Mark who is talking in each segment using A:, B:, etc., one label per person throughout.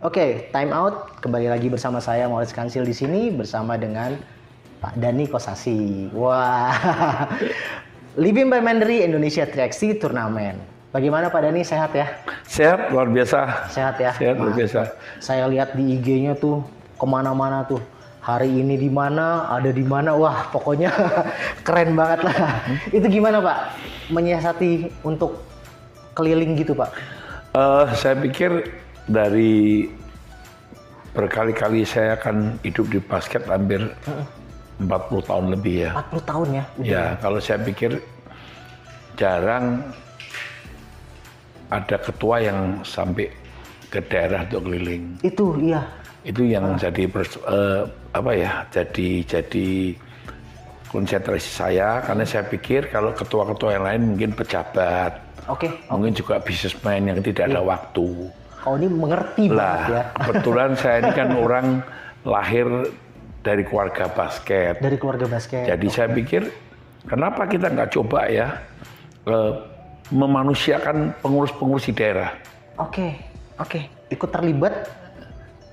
A: Oke, time out. Kembali lagi bersama saya Maulid Kansil di sini bersama dengan Pak Dani Kosasi. Wah. Living by Mandiri Indonesia Triaksi Turnamen. Bagaimana Pak Dani sehat ya?
B: Sehat luar biasa.
A: Sehat ya?
B: Sehat
A: Nah,
B: luar biasa.
A: Saya lihat di IG-nya tuh kemana-mana tuh. Hari ini di mana, ada di mana, wah pokoknya keren banget lah. Itu gimana Pak? Menyiasati untuk keliling gitu Pak?
B: Eh, saya pikir dari berkali-kali saya akan hidup di basket hampir 40 tahun lebih ya.
A: 40 tahun ya?
B: Ya, kalau saya pikir jarang ada ketua yang sampai ke daerah untuk keliling.
A: Itu iya.
B: Itu yang jadi pers- eh, apa ya? Jadi jadi konsentrasi saya karena saya pikir kalau ketua-ketua yang lain mungkin pejabat
A: Oke.
B: Mungkin juga bisnismen yang tidak ada waktu.
C: Iya.
A: Kau ini mengerti banget ya.
B: Lah, kebetulan saya ini kan orang lahir dari keluarga basket.
A: Dari keluarga basket.
B: Jadi saya pikir, kenapa kita nggak coba ya eh, memanusiakan pengurus-pengurus di daerah?
A: Oke, oke. Ikut terlibat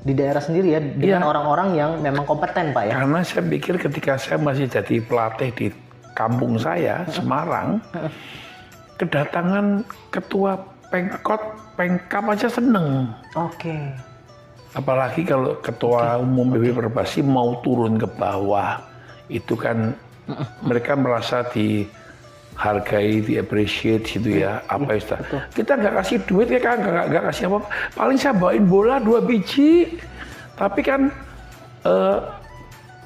A: di daerah sendiri ya dengan
B: Iya.
A: orang-orang yang memang kompeten Pak ya?
B: Karena saya pikir ketika saya masih jadi pelatih di kampung saya, Semarang, kedatangan ketua pengkot, pengkap aja seneng.
A: Oke.
B: Apalagi kalau ketua umum PB Perbasi mau turun ke bawah, itu kan mereka merasa dihargai, di appreciate gitu ya apa itu kita nggak kasih duit ya kan nggak- nggak nggak kasih apa paling saya bawain bola dua biji tapi kan eh,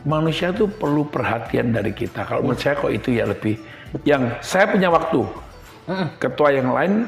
B: manusia tuh perlu perhatian dari kita kalau menurut saya kok itu ya lebih yang saya punya waktu ketua yang lain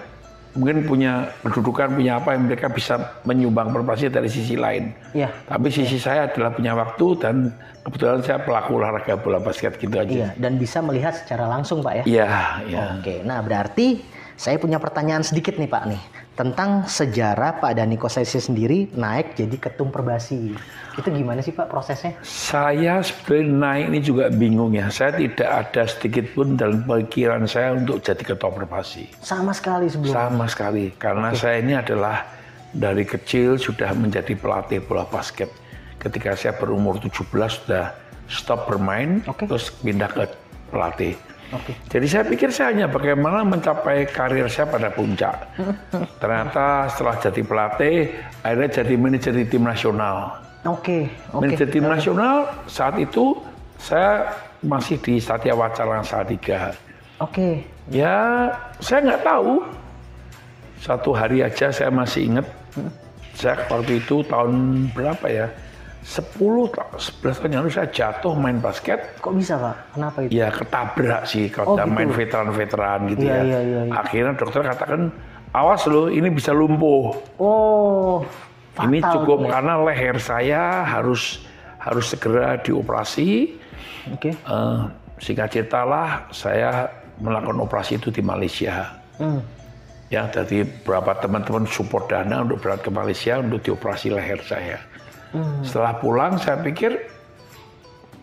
B: mungkin punya kedudukan punya apa yang mereka bisa menyumbang prestasi dari sisi lain
A: Iya.
B: tapi sisi saya adalah punya waktu dan kebetulan saya pelaku olahraga bola basket gitu aja.
A: Iya, dan bisa melihat secara langsung Pak ya?
B: Iya, iya.
A: Oke, nah berarti saya punya pertanyaan sedikit nih Pak nih tentang sejarah Pak Dani Kosesi sendiri naik jadi ketum perbasi. Itu gimana sih Pak prosesnya?
B: Saya sebenarnya naik ini juga bingung ya. Saya tidak ada sedikit pun dalam pikiran saya untuk jadi ketua perbasi.
A: Sama sekali sebelum.
B: Sama sekali. Karena saya ini adalah dari kecil sudah menjadi pelatih bola basket. Ketika saya berumur 17 sudah stop bermain,
A: Oke.
B: terus pindah ke pelatih.
A: Oke.
B: Jadi saya pikir saya hanya bagaimana mencapai karir saya pada puncak. Ternyata setelah jadi pelatih, akhirnya jadi manajer di tim nasional.
A: Oke,
B: Manajer
A: oke.
B: tim nasional saat itu saya masih di Satya Wacana Salatiga.
A: Oke.
B: Ya, saya nggak tahu. Satu hari aja saya masih ingat. Saya waktu itu tahun berapa ya? 10 ta- 11 tahun yang lalu saya jatuh main basket.
A: Kok bisa Pak? Kenapa itu?
B: Ya ketabrak sih kalau
A: Oh,
B: udah
A: gitu.
B: main veteran-veteran gitu
A: Iya,
B: ya.
A: iya, iya, iya.
B: Akhirnya dokter katakan, awas lo ini bisa lumpuh.
A: Oh.
B: ini
A: fatal
B: cukup
A: tuh ya.
B: karena leher saya harus harus segera dioperasi.
A: Oke.
B: Eh, singkat cerita lah, saya melakukan operasi itu di Malaysia.
A: Hmm.
B: Ya, tadi beberapa teman-teman support dana untuk berangkat ke Malaysia untuk dioperasi leher saya. Setelah pulang, saya pikir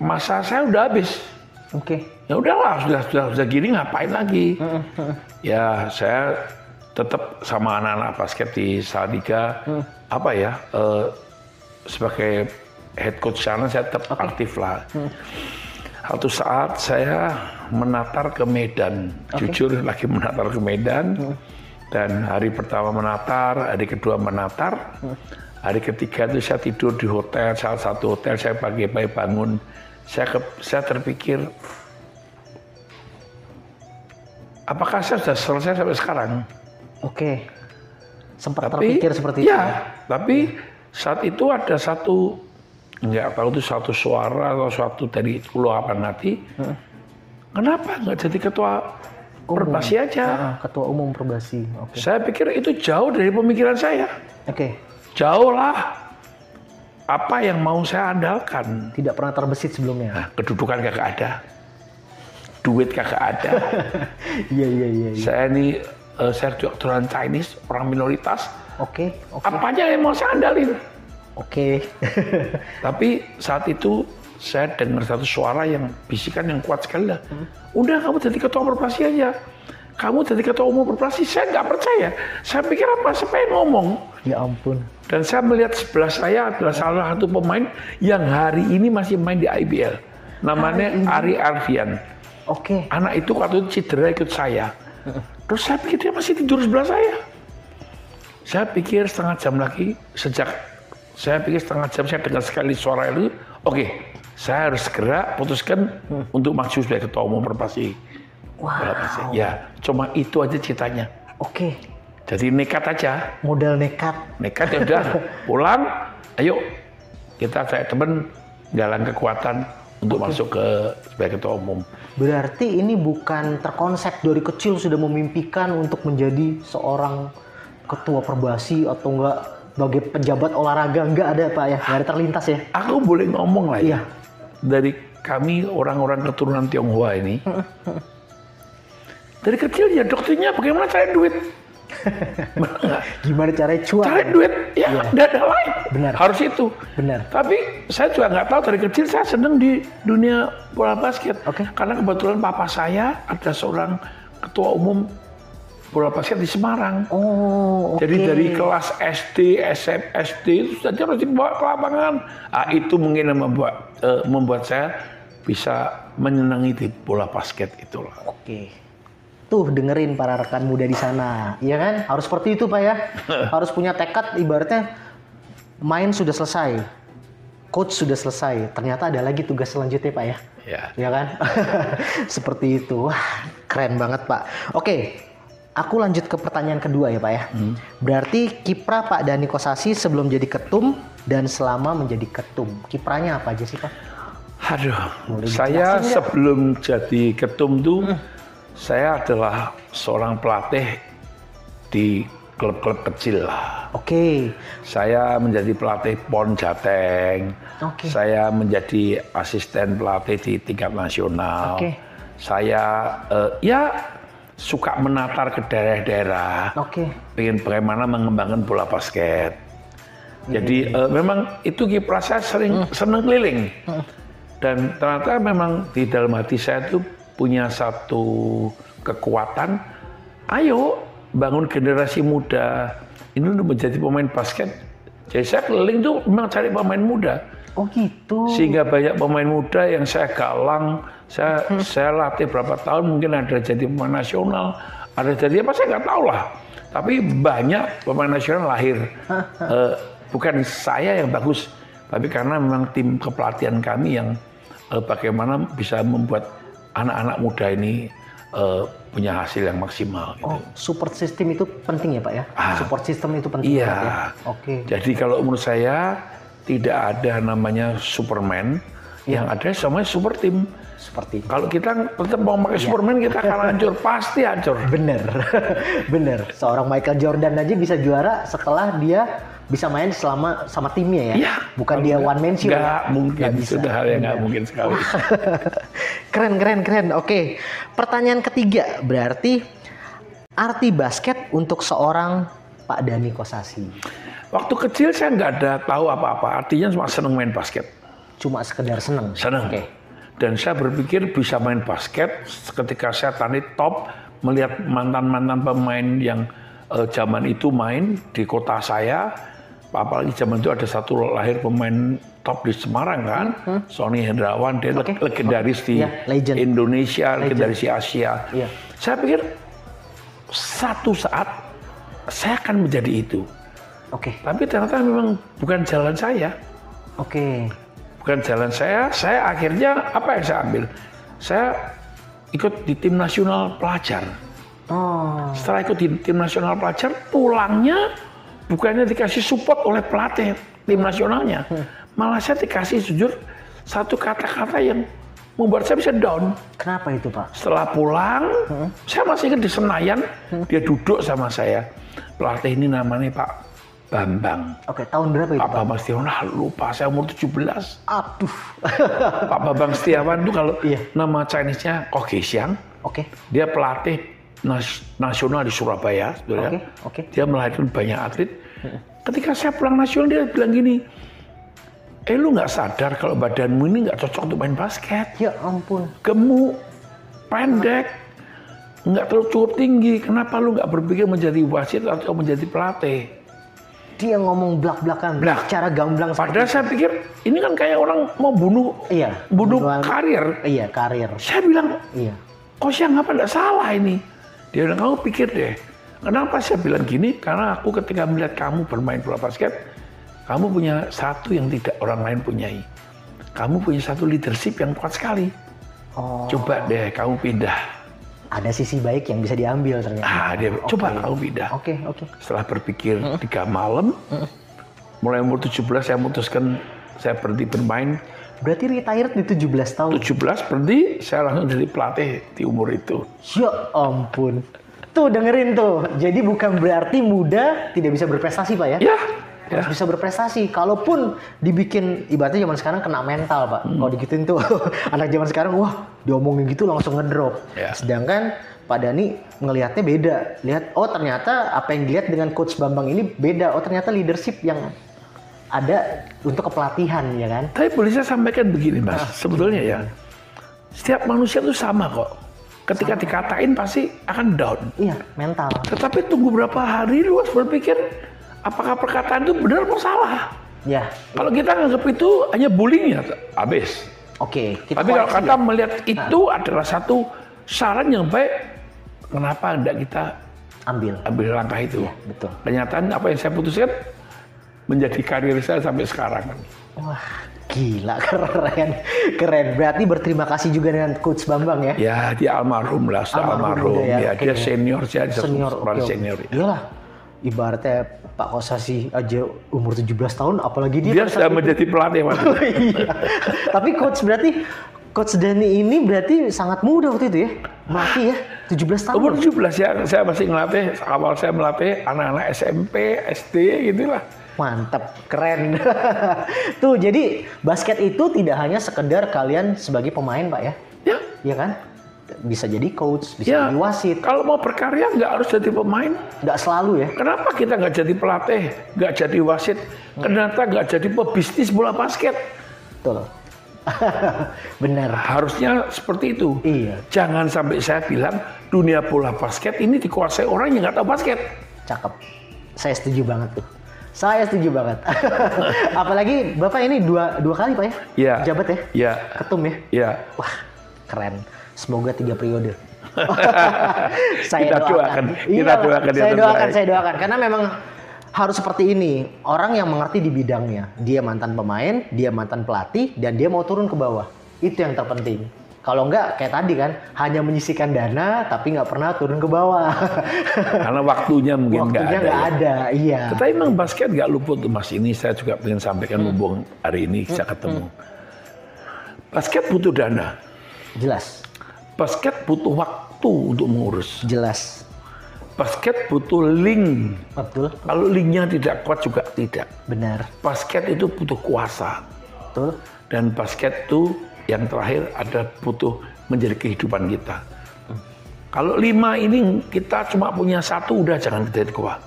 B: masa saya udah habis.
A: Oke.
B: Ya udahlah, sudah sudah sudah gini ngapain lagi? Ya, saya tetap sama anak-anak basket di Salatiga apa ya? eh, sebagai head coach sana saya tetap aktif lah. Satu saat saya menatar ke Medan, jujur lagi menatar ke Medan. Dan hari pertama menatar, hari kedua menatar, hari ketiga itu saya tidur di hotel, salah satu hotel saya pagi-pagi bangun, saya ke- saya terpikir Apakah saya sudah selesai sampai sekarang?
C: Oke. Sempat terpikir seperti
B: ya,
C: itu. Iya.
B: tapi saat itu ada satu nggak tahu itu satu suara atau suatu dari keluapan hati. Kenapa nggak jadi ketua perbasi aja?
C: Ah, ketua umum Perbasi. Oke.
B: Saya pikir itu jauh dari pemikiran saya.
C: Oke.
B: Jauh lah apa yang mau saya andalkan.
C: Tidak pernah terbesit sebelumnya.
B: Nah, kedudukan kagak ada, duit kagak ada.
C: Iya iya iya. iya.
B: saya ini eh, saya doktoran Chinese, orang minoritas.
C: Oke oke
B: Apa aja yang mau saya andalin?
C: oke.
B: Tapi saat itu saya dengar satu suara yang bisikan yang kuat sekali lah. Udah kamu jadi ketua perpelasi aja. Kamu jadi ketua umum perpelasi. Saya nggak percaya. Saya pikir apa? Saya pengen ngomong.
C: ya ampun.
B: Dan saya melihat sebelah saya adalah salah satu pemain yang hari ini masih main di IBL. Namanya Ari Arfian.
C: Oke.
B: Anak itu waktu itu cedera ikut saya. Terus saya pikir dia masih tidur sebelah saya. Saya pikir setengah jam lagi sejak saya pikir setengah jam saya dengar sekali suara itu. Oke, saya harus segera putuskan untuk maju sebagai ketua umum Perbasi. Bola Basket.
C: Wow.
B: Ya, cuma itu aja ceritanya.
C: Oke.
B: Jadi nekat aja,
C: Modal nekat.
B: nekat ya udah pulang. Ayo kita saya temen jalan kekuatan untuk masuk ke sebagai ketua umum.
C: Berarti ini bukan terkonsep dari kecil sudah memimpikan untuk menjadi seorang ketua perbasi atau enggak sebagai pejabat olahraga enggak ada pak ya nggak ada terlintas ya
B: Aku boleh ngomong lah ya.
C: Iya.
B: Dari kami orang-orang keturunan Tionghoa ini. dari kecil ya dokternya bagaimana cari duit. Bener nggak?
C: gimana caranya cuan
B: cari duit ya nggak ada lain.
C: Iya. Benar.
B: Harus itu.
C: Benar.
B: Tapi saya juga nggak tahu dari kecil saya seneng di dunia bola basket.
C: Oke.
B: Karena kebetulan papa saya ada seorang ketua umum bola basket di Semarang.
C: oh oke
B: Jadi dari kelas SD, SMP, SD itu saja harus dibawa ke lapangan. Ah, itu mungkin yang membuat eh, membuat saya bisa menyenangi di bola basket itulah.
C: Oke. Tuh dengerin para rekan muda di sana, iya kan? Harus seperti itu pak ya. Harus punya tekad. Ibaratnya main sudah selesai, coach sudah selesai. Ternyata ada lagi tugas selanjutnya pak ya.
B: Ya.
C: Iya kan? seperti itu. Wah, keren banget pak. Oke. Aku lanjut ke pertanyaan kedua ya Pak ya.
B: Hmm.
C: Berarti kiprah Pak Dani Kosasi sebelum jadi ketum dan selama menjadi ketum, kiprahnya apa aja sih Pak?
B: Aduh, saya sebelum jadi ketum tuh, saya adalah seorang pelatih di klub-klub kecil lah.
C: Oke,
B: Saya menjadi pelatih PON Jateng.
C: Oke.
B: Saya menjadi asisten pelatih di tingkat nasional.
C: Oke.
B: Saya eh, ya suka menatar ke daerah-daerah.
C: oke,
B: Pengen bagaimana mengembangkan bola basket.
C: Hmm.
B: Jadi eh, memang itu kiprah saya sering seneng keliling.
C: Hmm.
B: Dan ternyata memang di dalam hati saya itu punya satu kekuatan. Ayo bangun generasi muda. Ini untuk menjadi pemain basket. Jadi saya keliling tuh memang cari pemain muda.
C: oh gitu.
B: Sehingga banyak pemain muda yang saya galang. Saya
C: Hmm.
B: saya latih berapa tahun mungkin ada jadi pemain nasional. Ada jadi apa saya nggak tahu lah. Tapi banyak pemain nasional lahir. Eh, bukan saya yang bagus. Tapi karena memang tim kepelatihan kami yang eh, bagaimana bisa membuat anak-anak muda ini eh, punya hasil yang maksimal. Gitu.
C: Oh, support system itu penting ya, Pak ya?
B: Ah.
C: support system itu penting
B: Iya.
C: banget ya. Oke.
B: Jadi kalau menurut saya tidak ada namanya Superman.
C: Ya.
B: Yang ada semuanya super tim.
C: Seperti
B: Kalau kita tetap mau
C: Iya.
B: pakai Superman kita akan hancur, pasti hancur.
C: bener. bener. Seorang Michael Jordan aja bisa juara setelah dia bisa main selama sama timnya ya.
B: Iya.
C: Bukan dia one man show.
B: Nggak
C: ya?
B: mungkin,
C: Nggak bisa. Iya.
B: sudah hal yang nggak mungkin sekali.
C: keren, keren, keren. Oke. Pertanyaan ketiga, berarti arti basket untuk seorang Pak Dani Kosasi.
B: Waktu kecil saya nggak ada tahu apa-apa, artinya cuma seneng main basket.
C: Cuma sekedar seneng.
B: Seneng.
C: Oke.
B: Dan saya berpikir bisa main basket ketika saya tani top, melihat mantan-mantan pemain yang eh, zaman itu main di kota saya. Apalagi zaman itu ada satu lahir pemain top di Semarang kan, Sony Hendrawan, dia leg- legendaris di
C: Iya, Hmm. legend.
B: Indonesia, legendaris di Asia.
C: Iya.
B: Saya pikir satu saat saya akan menjadi itu.
C: Oke.
B: Tapi ternyata memang bukan jalan saya
C: Oke.
B: bukan jalan saya. Saya akhirnya apa yang saya ambil? Saya ikut di tim nasional pelajar.
C: Oh.
B: Setelah ikut di tim nasional pelajar, pulangnya bukannya dikasih support oleh pelatih tim nasionalnya, malah saya dikasih jujur satu kata-kata yang membuat saya bisa down.
C: Kenapa itu pak?
B: Setelah pulang, saya masih ingat di Senayan, dia duduk sama saya. Pelatih ini namanya Pak Bambang.
C: Oke tahun berapa itu
B: Pak
C: pak?
B: Bambang Setiawan, ah, lupa saya umur 17.
C: Aduh.
B: Pak Bambang Setiawan itu kalau
C: Iya.
B: nama Chinese-nya Koh Gei Siang,
C: Oke.
B: dia pelatih nas- nasional di Surabaya.
C: Oke.
B: sebetulnya.
C: Oke.
B: Dia melahirkan banyak atlet. Ketika saya pulang nasional, dia bilang gini, eh lu nggak sadar kalau badanmu ini nggak cocok untuk main basket.
C: Ya ampun.
B: gemuk, pendek, nggak terlalu cukup tinggi. Kenapa lu nggak berpikir menjadi wasit atau menjadi pelatih?
C: Dia ngomong belak-belakan.
B: Belak.
C: Cara gamblang. seperti-
B: Padahal saya pikir ini kan kayak orang mau bunuh,
C: Iya.
B: bunuh
C: Bunuhan-
B: karir.
C: Iya karir.
B: Saya bilang,
C: Iya.
B: kok siang apa nggak salah ini? Dia bilang, kamu pikir deh. Kenapa saya bilang gini? Karena aku ketika melihat kamu bermain bola basket, kamu punya satu yang tidak orang lain punyai. Kamu punya satu leadership yang kuat sekali.
C: Oh.
B: Coba deh kamu pindah.
C: Ada sisi baik yang bisa diambil ternyata.
B: Ah, dia coba kamu pindah.
C: Oke Hmm. oke.
B: Setelah berpikir tiga malam, mulai umur 17 saya memutuskan saya berhenti bermain.
C: Berarti retired di 17 tahun.
B: 17 berhenti, saya langsung jadi pelatih di umur itu.
C: Ya ampun. Tuh dengerin tuh. Jadi bukan berarti muda tidak bisa berprestasi pak ya?
B: Ya, ya.
C: Harus bisa berprestasi. Kalaupun dibikin ibaratnya zaman sekarang kena mental pak.
B: Hmm.
C: Kalau digituin tuh anak zaman sekarang wah diomongin gitu langsung ngedrop.
B: Ya.
C: Sedangkan Pak Dani ngelihatnya beda. Lihat oh ternyata apa yang dilihat dengan coach Bambang ini beda. Oh ternyata leadership yang ada untuk kepelatihan ya kan?
B: Tapi boleh saya sampaikan begini
C: Ah.
B: mas, sebetulnya ya, setiap manusia itu sama kok. Ketika dikatain pasti akan down.
C: Iya mental.
B: Tetapi tunggu berapa hari lu harus berpikir apakah perkataan itu benar atau salah.
C: Ya
B: Kalau kita nganggap itu hanya bullying ya, habis.
C: oke.
B: Tapi
C: kita
B: kalau
C: koreksi ya. Nah.
B: kata melihat itu adalah satu saran yang baik, kenapa tidak kita
C: ya. ambil.
B: ambil langkah itu?
C: Iya, betul.
B: Kenyataan apa yang saya putuskan menjadi karir saya sampai sekarang.
C: Wah, gila keren. Keren. Berarti berterima kasih juga dengan coach Bambang ya.
B: Ya dia almarhum lah, sudah almarhum.
C: Almarhum juga ya,
B: Ya,
C: oke.
B: dia senior, saya di
C: Senior.
B: sekolah
C: oke, oke.
B: senior. ya.
C: Iyalah. Ibaratnya Pak Kosasi aja umur 17 tahun apalagi dia
B: Dia
C: pada
B: sudah
C: saat itu.
B: menjadi pelatih Mas.
C: Iya. Tapi coach berarti coach Dani ini berarti sangat muda waktu itu ya. Mati ya, 17 tahun.
B: Umur 17 ya, saya masih ngelatih. Awal saya melatih anak-anak SMP, SD gitulah.
C: Mantap, keren. Tuh, jadi basket itu tidak hanya sekedar kalian sebagai pemain, Pak ya.
B: Ya,
C: Iya kan? Bisa jadi coach, bisa
B: ya.
C: jadi wasit.
B: Kalau mau berkarya nggak harus jadi pemain.
C: Nggak selalu ya.
B: Kenapa kita nggak jadi pelatih, nggak jadi wasit, kenapa nggak jadi pebisnis bola basket?
C: Betul. Benar.
B: Harusnya seperti itu.
C: Iya.
B: Jangan sampai saya bilang dunia bola basket ini dikuasai orang yang nggak tahu basket.
C: Cakep. Saya setuju banget tuh. Saya setuju banget. Apalagi Bapak ini dua, dua kali Pak ya?
B: Iya.
C: Jabat ya?
B: Iya.
C: Ketum ya?
B: Ya,
C: Wah, keren. Semoga tiga periode.
B: Kita doakan. Kita
C: Iyalah,
B: doakan ya yang
C: Iya, Saya doakan,
B: terbaik.
C: saya doakan. Karena memang harus seperti ini. Orang yang mengerti di bidangnya. Dia mantan pemain, dia mantan pelatih, dan dia mau turun ke bawah. Itu yang terpenting. Kalau enggak, kayak tadi kan, hanya menyisikan dana, tapi nggak pernah turun ke bawah.
B: karena waktunya mungkin nggak
C: Waktunya
B: ada.
C: nggak
B: ya.
C: ada, iya.
B: Tetapi memang basket nggak luput tuh, mas ini saya juga ingin
C: Hmm.
B: sampaikan mumpung hari ini kita ketemu. Basket butuh dana,
C: Jelas,
B: basket butuh waktu untuk mengurus,
C: jelas.
B: basket butuh link
C: Betul,
B: Kalau linknya tidak kuat juga tidak.
C: benar,
B: Basket itu butuh kuasa.
C: betul.
B: Dan basket itu yang terakhir ada butuh menjadi kehidupan kita. Kalau lima ini kita cuma punya satu udah jangan kita kuat.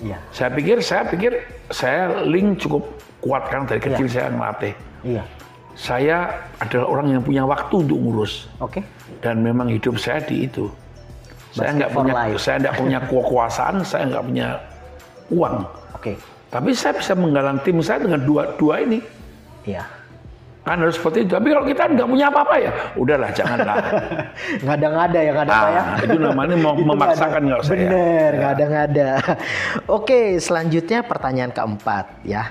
C: Iya,
B: Saya pikir, saya pikir saya link cukup kuat kan dari
C: Ya.
B: kecil saya ngelatih.
C: iya.
B: Saya adalah orang yang punya waktu untuk ngurus
C: Oke,
B: dan memang hidup saya di itu. Saya
C: Basket
B: nggak
C: for
B: punya,
C: life.
B: saya nggak punya kekuasaan, saya nggak punya uang.
C: oke.
B: Tapi saya bisa menggalang tim saya dengan dua dua ini.
C: Iya.
B: Kan harus seperti itu. Tapi kalau kita nggak punya apa-apa ya, udahlah janganlah.
C: Ngada-ngada ya, ngada apa ya?
B: Ah, itu namanya mau
C: Itu
B: memaksakan
C: ngada.
B: nggak usah ya.
C: Bener, ngada-ngada. Oke, selanjutnya pertanyaan keempat ya.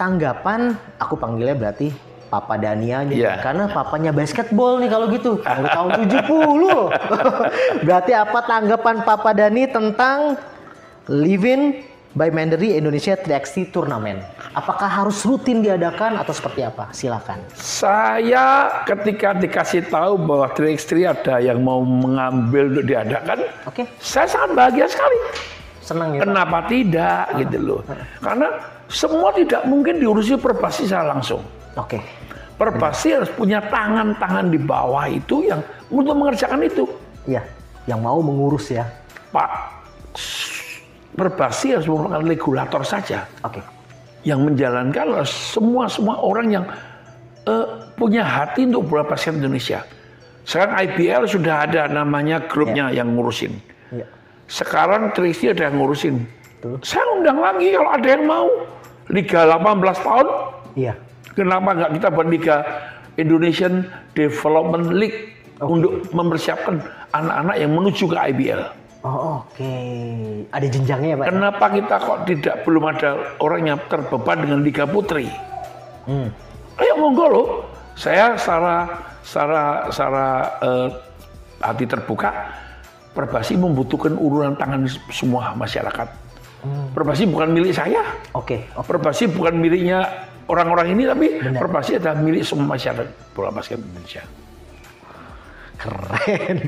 C: Tanggapan, aku panggilnya berarti Papa Danianya
B: Iya.
C: karena papanya basketball nih kalau gitu dari tahun 70 loh. Berarti apa tanggapan Papa Dani tentang Livin by Mandarin Indonesia 3 turnamen? Apakah harus rutin diadakan atau seperti apa? Silakan.
B: Saya ketika dikasih tahu bahwa 3x3 ada yang mau mengambil untuk diadakan,
C: Oke,
B: saya sangat bahagia sekali.
C: senang ya. Pak?
B: Kenapa tidak gitu loh? Karena semua tidak mungkin diurusi perbasi secara langsung.
C: Oke.
B: Perbasi harus punya tangan-tangan di bawah itu yang untuk mengerjakan itu.
C: Iya, yang mau mengurus ya.
B: Pak, perbasi harus merupakan regulator saja.
C: Oke.
B: Yang menjalankan harus semua-semua orang yang eh, punya hati untuk bola basket Indonesia. Sekarang IBL sudah ada namanya grupnya yang ngurusin.
C: Iya.
B: Sekarang Trisi ada yang ngurusin. Saya undang lagi kalau ada yang mau. Liga 18 tahun,
C: Iya.
B: kenapa nggak kita buat Liga Indonesian Development League untuk mempersiapkan anak-anak yang menuju ke IBL.
C: Oh, oke. Ada jenjangnya ya, Pak?
B: Kenapa kita kok tidak belum ada orang yang terbeban dengan Liga Putri?
C: Hmm.
B: Ayo monggo loh. Saya secara secara secara eh, hati terbuka Perbasi membutuhkan urunan tangan semua masyarakat. Perbasi bukan milik saya.
C: Hmm. Oke. oke.
B: Perbasi bukan miliknya orang-orang ini tapi Perbasi adalah milik semua masyarakat bola basket Indonesia.
C: Keren.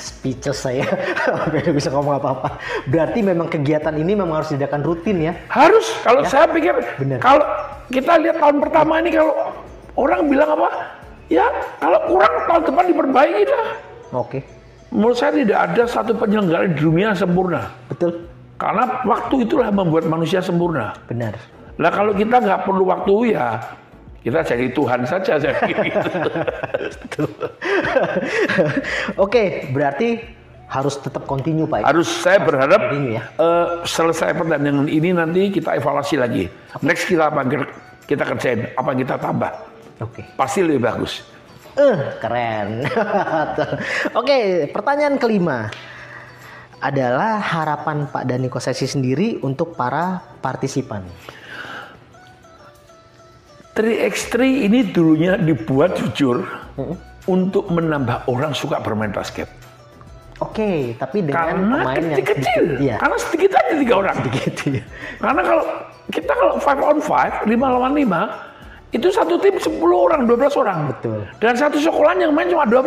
C: Speechless saya. Oke, nggak bisa ngomong apa-apa. Berarti memang kegiatan ini memang harus diadakan rutin ya.
B: Harus kalau saya pikir
C: bener.
B: kalau kita lihat tahun pertama ini kalau orang bilang apa? Ya, kalau kurang tahun depan diperbaiki dah.
C: Oke.
B: Menurut saya tidak ada satu penyelenggara di dunia yang sempurna.
C: Betul.
B: Karena waktu itulah membuat manusia sempurna.
C: Benar.
B: Lah kalau kita nggak perlu waktu ya kita jadi Tuhan saja saya pikir gitu.
C: Oke, berarti harus tetap continue, Pak.
B: Harus saya berharap
C: Ini ya.
B: eh, selesai pertandingan ini nanti kita evaluasi lagi. Next kita apa yang kita kerjain, apa yang kita tambah.
C: Oke.
B: Pasti lebih bagus.
C: Eh, keren. Oke, pertanyaan kelima adalah harapan Pak Dani Kosesi sendiri untuk para partisipan.
B: 3x3 ini dulunya dibuat jujur untuk menambah orang suka bermain basket.
C: Oke, tapi dengan
B: Karena
C: pemain yang
B: kecil-kecil.
C: sedikit- Iya,
B: Karena sedikit aja tiga orang.
C: gitu ya.
B: Karena kalau kita kalau five on five, lima lawan lima, itu satu tim 10 orang, 12 orang.
C: Betul.
B: Dan satu sekolahan yang main cuma 12.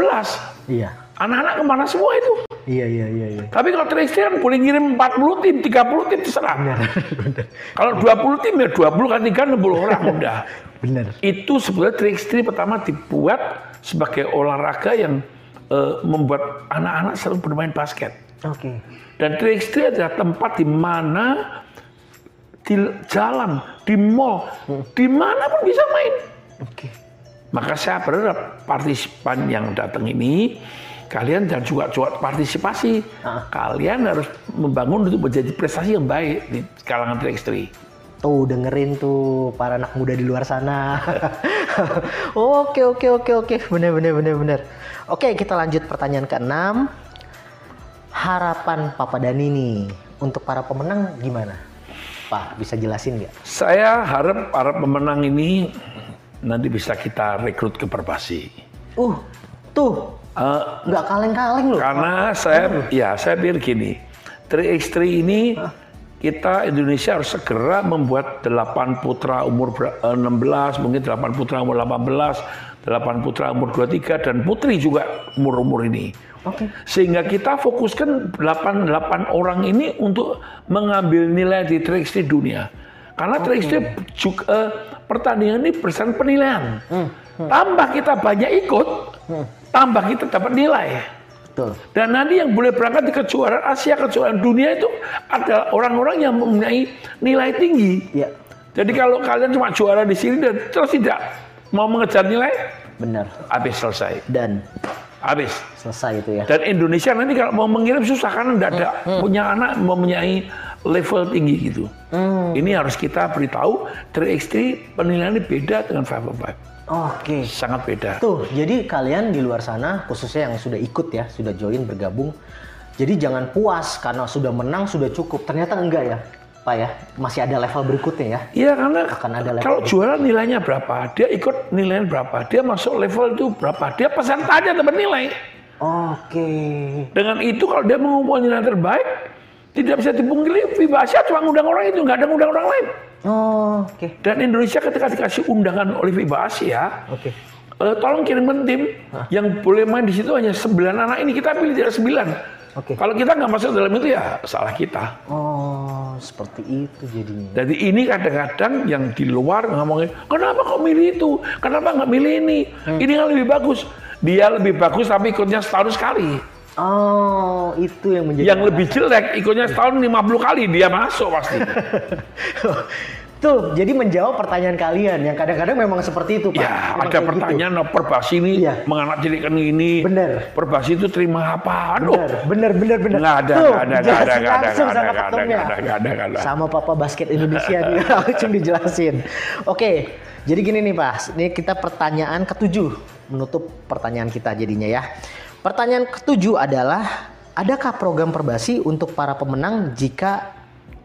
C: Iya.
B: Anak-anak kemana semua itu?
C: Iya, iya, iya, iya.
B: Tapi kalau Tristri kan boleh ngirim 40 tim, 30 tim terserah. Kalau 20 tim ya 20 kan 3, 60 orang udah.
C: Benar.
B: Itu sebenarnya Tristri pertama dibuat sebagai olahraga yang eh, membuat anak-anak selalu bermain basket.
C: Oke.
B: Dan 3x3 adalah tempat di mana di jalan, di mall, di mana pun bisa main.
C: Oke.
B: Maka saya berharap partisipan yang datang ini kalian dan juga juga partisipasi. Kalian harus membangun untuk menjadi prestasi yang baik di kalangan 3x3.
C: Tuh dengerin tuh para anak muda di luar sana. oke oke oke oke bener bener bener bener. Oke kita lanjut pertanyaan keenam. Harapan Papa Dani nih untuk para pemenang gimana? Pak bisa jelasin nggak?
B: Saya harap para pemenang ini nanti bisa kita rekrut ke Perbasi.
C: Uh tuh
B: Eh,
C: nggak kaleng-kaleng loh.
B: Karena saya, ya saya pikir gini, 3x3 ini kita Indonesia harus segera membuat 8 putra umur ber- eh, 16, mungkin 8 putra umur 18, 8 putra umur 23, dan putri juga umur-umur ini.
C: Oke.
B: Sehingga kita fokuskan 8, 8 orang ini untuk mengambil nilai di 3x3 dunia. Karena 3x3 juga, eh, pertandingan ini berdasarkan penilaian.
C: Hmm.
B: Tambah kita banyak ikut, tambah kita dapat nilai.
C: Betul.
B: Dan nanti yang boleh berangkat ke kejuaraan Asia, kejuaraan dunia itu adalah orang-orang yang mempunyai nilai tinggi.
C: Iya
B: Jadi kalau kalian cuma juara di sini dan terus tidak mau mengejar nilai,
C: benar.
B: habis selesai.
C: Dan
B: Habis.
C: selesai itu ya.
B: Dan Indonesia nanti kalau mau mengirim susah karena tidak ada punya anak mempunyai level tinggi gitu. Ini harus kita beritahu 3x3 penilaiannya beda dengan 5x5.
C: Oke.
B: Sangat beda.
C: Tuh, jadi kalian di luar sana, khususnya yang sudah ikut ya, sudah join bergabung, jadi jangan puas karena sudah menang sudah cukup. Ternyata enggak ya. Pak ya, masih ada level berikutnya ya.
B: Iya karena
C: Akan ada level
B: kalau jualan nilainya berapa, dia ikut nilainya berapa, dia masuk level itu berapa, dia persentasenya dapat nilai.
C: ya. Oke.
B: Dengan itu kalau dia mengumpulkan nilai terbaik, tidak bisa dipungkiri Vivasia cuma ngundang orang itu, nggak ada ngundang orang lain.
C: Oh, oke.
B: Dan Indonesia ketika dikasih undangan oleh Viva Asia,
C: Oke.
B: eh, tolong kirimkan tim yang boleh main di situ hanya 9 anak ini kita pilih tidak 9.
C: Oke.
B: Kalau kita nggak masuk dalam itu ya salah kita.
C: Oh, seperti itu jadinya.
B: Jadi ini kadang-kadang yang di luar ngomongin, kenapa kok milih itu? Kenapa nggak milih ini?
C: Hmm.
B: Ini kan lebih bagus. Dia lebih bagus tapi ikutnya setahun sekali.
C: Oh, itu yang menjadi
B: Yang lebih jelek ikutnya setahun 50 kali dia masuk pasti.
C: Tuh, jadi menjawab pertanyaan kalian yang kadang-kadang memang seperti itu, Pak.
B: ya,
C: Memang
B: ada
C: kayak gitu.
B: pertanyaan "Nah, perbasi ini
C: Iya.
B: menganak jadikan ini.
C: Bener.
B: Perbasi itu terima apa? Aduh.
C: Bener, bener, bener, bener.
B: Nggak ada,
C: Tuh,
B: nggak ada, nggak ada,
C: jelasin
B: nggak ada,
C: langsung
B: nggak ada,
C: sama
B: nggak ada,
C: ketumnya.
B: nggak ada, nggak ada, nggak ada.
C: Sama Papa Basket Indonesia nih, langsung dijelasin. Oke, jadi gini nih Pak, ini kita pertanyaan ketujuh, menutup pertanyaan kita jadinya ya. Pertanyaan ketujuh adalah, adakah program perbasi untuk para pemenang jika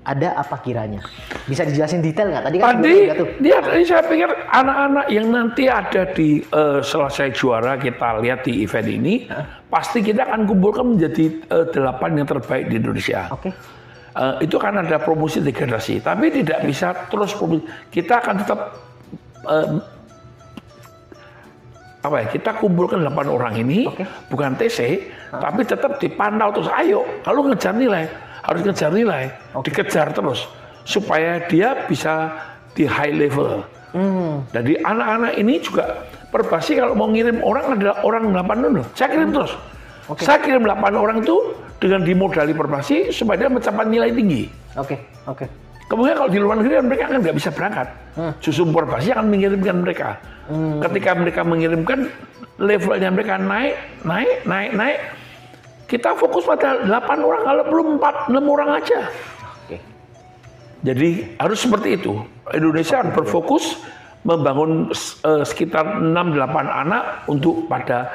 C: ada apa kiranya? Bisa dijelasin detail nggak? Tadi
B: Tadi
C: kan sebelumnya tuh.
B: dia tadi saya pikir anak-anak yang nanti ada di eh, selesai juara kita lihat di event ini pasti kita akan kumpulkan menjadi eh, delapan yang terbaik di Indonesia.
C: Oke,
B: Eh, itu kan ada promosi degradasi, tapi tidak bisa terus promosi. Kita akan tetap eh, apa ya? Kita kumpulkan 8 orang ini
C: Oke.
B: bukan TC, tapi tetap dipantau terus. Ayo, kalau ngejar nilai harus ngejar nilai, dikejar terus supaya dia bisa di high level. Jadi anak-anak ini juga perbasi kalau mau ngirim orang adalah orang 8 dulu. Saya kirim terus. Saya kirim 8 orang itu dengan dimodali perbasi supaya dia mencapai nilai tinggi.
C: oke, oke.
B: Kemudian kalau di luar negeri kan mereka kan nggak bisa berangkat. Justru perbasi akan mengirimkan mereka. Ketika mereka mengirimkan levelnya mereka naik, naik, naik, naik. Kita fokus pada 8 orang kalau belum 4, 6 orang aja.
C: Oke.
B: Jadi harus seperti itu. Indonesia harus berfokus membangun eh, sekitar 6-8 anak untuk pada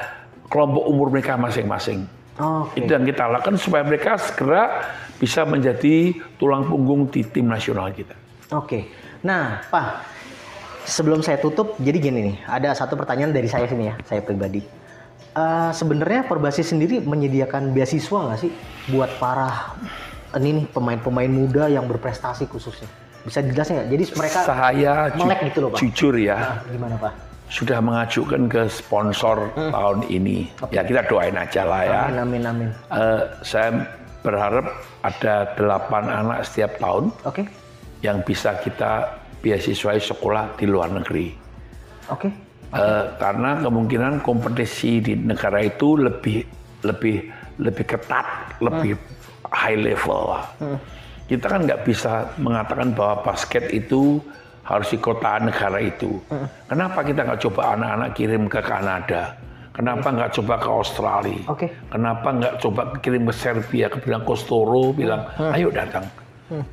B: kelompok umur mereka masing-masing.
C: Oke.
B: Itu yang kita lakukan supaya mereka segera bisa menjadi tulang punggung di tim nasional kita.
C: Oke. Nah, Pak, sebelum saya tutup, jadi gini nih, ada satu pertanyaan dari saya sini ya, saya pribadi. Eh, Sebenarnya Perbasi sendiri menyediakan beasiswa nggak sih buat para ini nih pemain-pemain muda yang berprestasi khususnya? Bisa dijelasin nggak? Jadi mereka
B: Saya ju-
C: melek gitu loh, Pak.
B: jujur ya,
C: Ah, gimana Pak?
B: sudah mengajukan ke sponsor
C: Hmm.
B: tahun ini. Ya kita doain aja lah ya.
C: Amin, amin, amin.
B: Eh, saya berharap ada 8 anak setiap tahun
C: Oke,
B: yang bisa kita beasiswai sekolah di luar negeri.
C: oke,
B: Eh, karena kemungkinan kompetisi di negara itu lebih lebih lebih ketat, lebih high level lah. Kita kan nggak bisa mengatakan bahwa basket itu harus di kota negara itu. Kenapa kita nggak coba anak-anak kirim ke Kanada? Kenapa nggak coba ke Australia?
C: Oke.
B: Kenapa nggak coba kirim ke Serbia, ke bilang Kostoro, bilang ayo datang.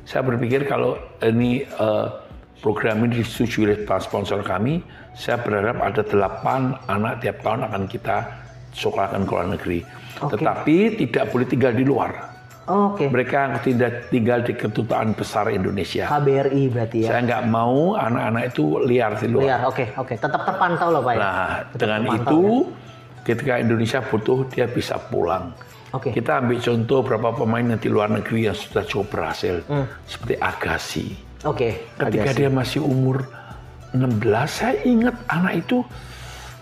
B: Saya berpikir kalau ini eh, program ini disetujui oleh para sponsor kami, saya berharap ada 8 anak tiap tahun akan kita sekolahkan ke luar negeri.
C: Oke.
B: Tetapi tidak boleh tinggal di luar.
C: oke.
B: Mereka tidak tinggal di kedutaan besar Indonesia.
C: KBRI berarti ya?
B: Saya nggak mau anak-anak itu liar di luar.
C: Iya, oke, oke. Tetap terpantau loh Pak ya?
B: Nah,
C: Tetap
B: dengan
C: terpantau
B: itu
C: ya?
B: ketika Indonesia butuh dia bisa pulang.
C: Oke.
B: Kita ambil contoh berapa pemain yang di luar negeri yang sudah cukup berhasil
C: Hmm.
B: seperti Agassi.
C: Oke,
B: Ketika
C: agak-
B: dia masih umur 16, saya ingat anak itu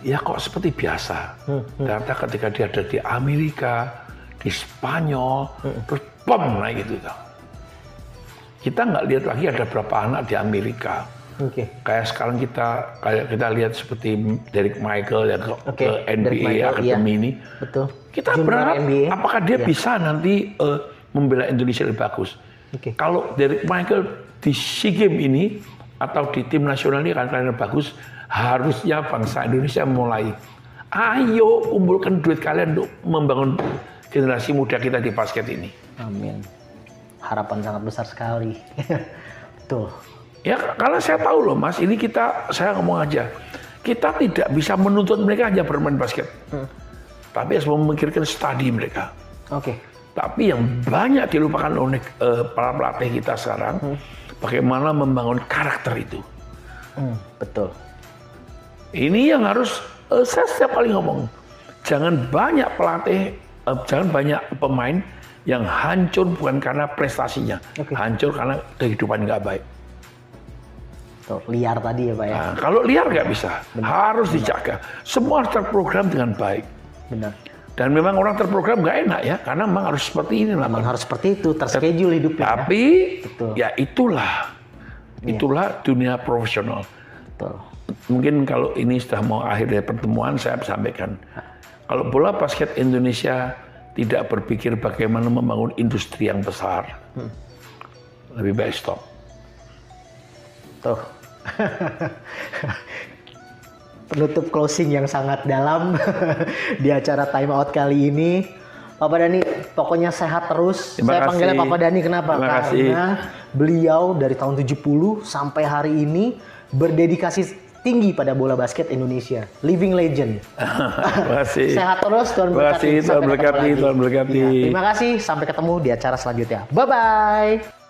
B: ya kok seperti biasa.
C: Hmm,
B: Ternyata ketika dia ada di Amerika, di Spanyol,
C: Hmm.
B: terus bom naik gitu. Tau. Kita nggak lihat lagi ada berapa anak di Amerika
C: Oke,
B: kayak sekarang kita kayak kita lihat seperti Derek Michael yang ke,
C: Oke,
B: ke
C: Derek
B: NBA
C: Michael,
B: Academy
C: iya.
B: ini
C: betul.
B: kita
C: Junior
B: berharap
C: NBA.
B: apakah dia
C: Iya.
B: bisa nanti eh, membela Indonesia lebih bagus
C: Oke.
B: kalau Derek Michael di SEA Games ini atau di tim nasional ini kan kalian bagus harusnya bangsa Indonesia mulai ayo kumpulkan duit kalian untuk membangun generasi muda kita di basket ini
C: Amin. Harapan sangat besar sekali. Betul.
B: Ya karena saya tahu loh mas, ini kita saya ngomong aja, kita tidak bisa
C: Hmm.
B: menuntut mereka hanya bermain basket, tapi harus memikirkan studi mereka.
C: Oke.
B: Tapi yang banyak dilupakan oleh eh, para pelatih kita sekarang, bagaimana membangun karakter itu.
C: Hmm, betul.
B: Ini yang harus eh, saya setiap kali ngomong. Jangan banyak pelatih, eh, jangan banyak pemain yang hancur bukan karena prestasinya,
C: Oke.
B: hancur karena kehidupan nggak baik.
C: Betul. Liar tadi ya Pak ya.
B: Nah, kalau liar nggak bisa, harus dijaga. Semua harus terprogram dengan baik.
C: Benar.
B: Dan memang orang terprogram nggak enak ya, karena memang harus seperti ini
C: Memang
B: namanya.
C: harus seperti itu, terschedule hidupnya. ya.
B: Tapi
C: Betul.
B: ya itulah, itulah dunia profesional.
C: Betul.
B: Mungkin kalau ini sudah mau akhir dari pertemuan, saya sampaikan. Kalau bola basket Indonesia tidak berpikir bagaimana membangun industri yang besar, lebih baik stop.
C: Tuh. Penutup closing yang sangat dalam di acara time out kali ini. Papa Dani, pokoknya sehat terus.
B: Terima
C: Saya
B: kasih.
C: panggilnya Papa Dani kenapa?
B: Terima
C: Karena
B: kasih.
C: beliau dari tahun 70 sampai hari ini berdedikasi tinggi pada bola basket Indonesia. Living legend.
B: Terima kasih.
C: Sehat terus, Tuhan
B: Iya. Terima kasih,
C: berkati.
B: Tuhan
C: Sampai ketemu
B: berkati,
C: lagi.
B: Tuhan berkati.
C: Iya, terima kasih, sampai ketemu di acara selanjutnya. Bye-bye.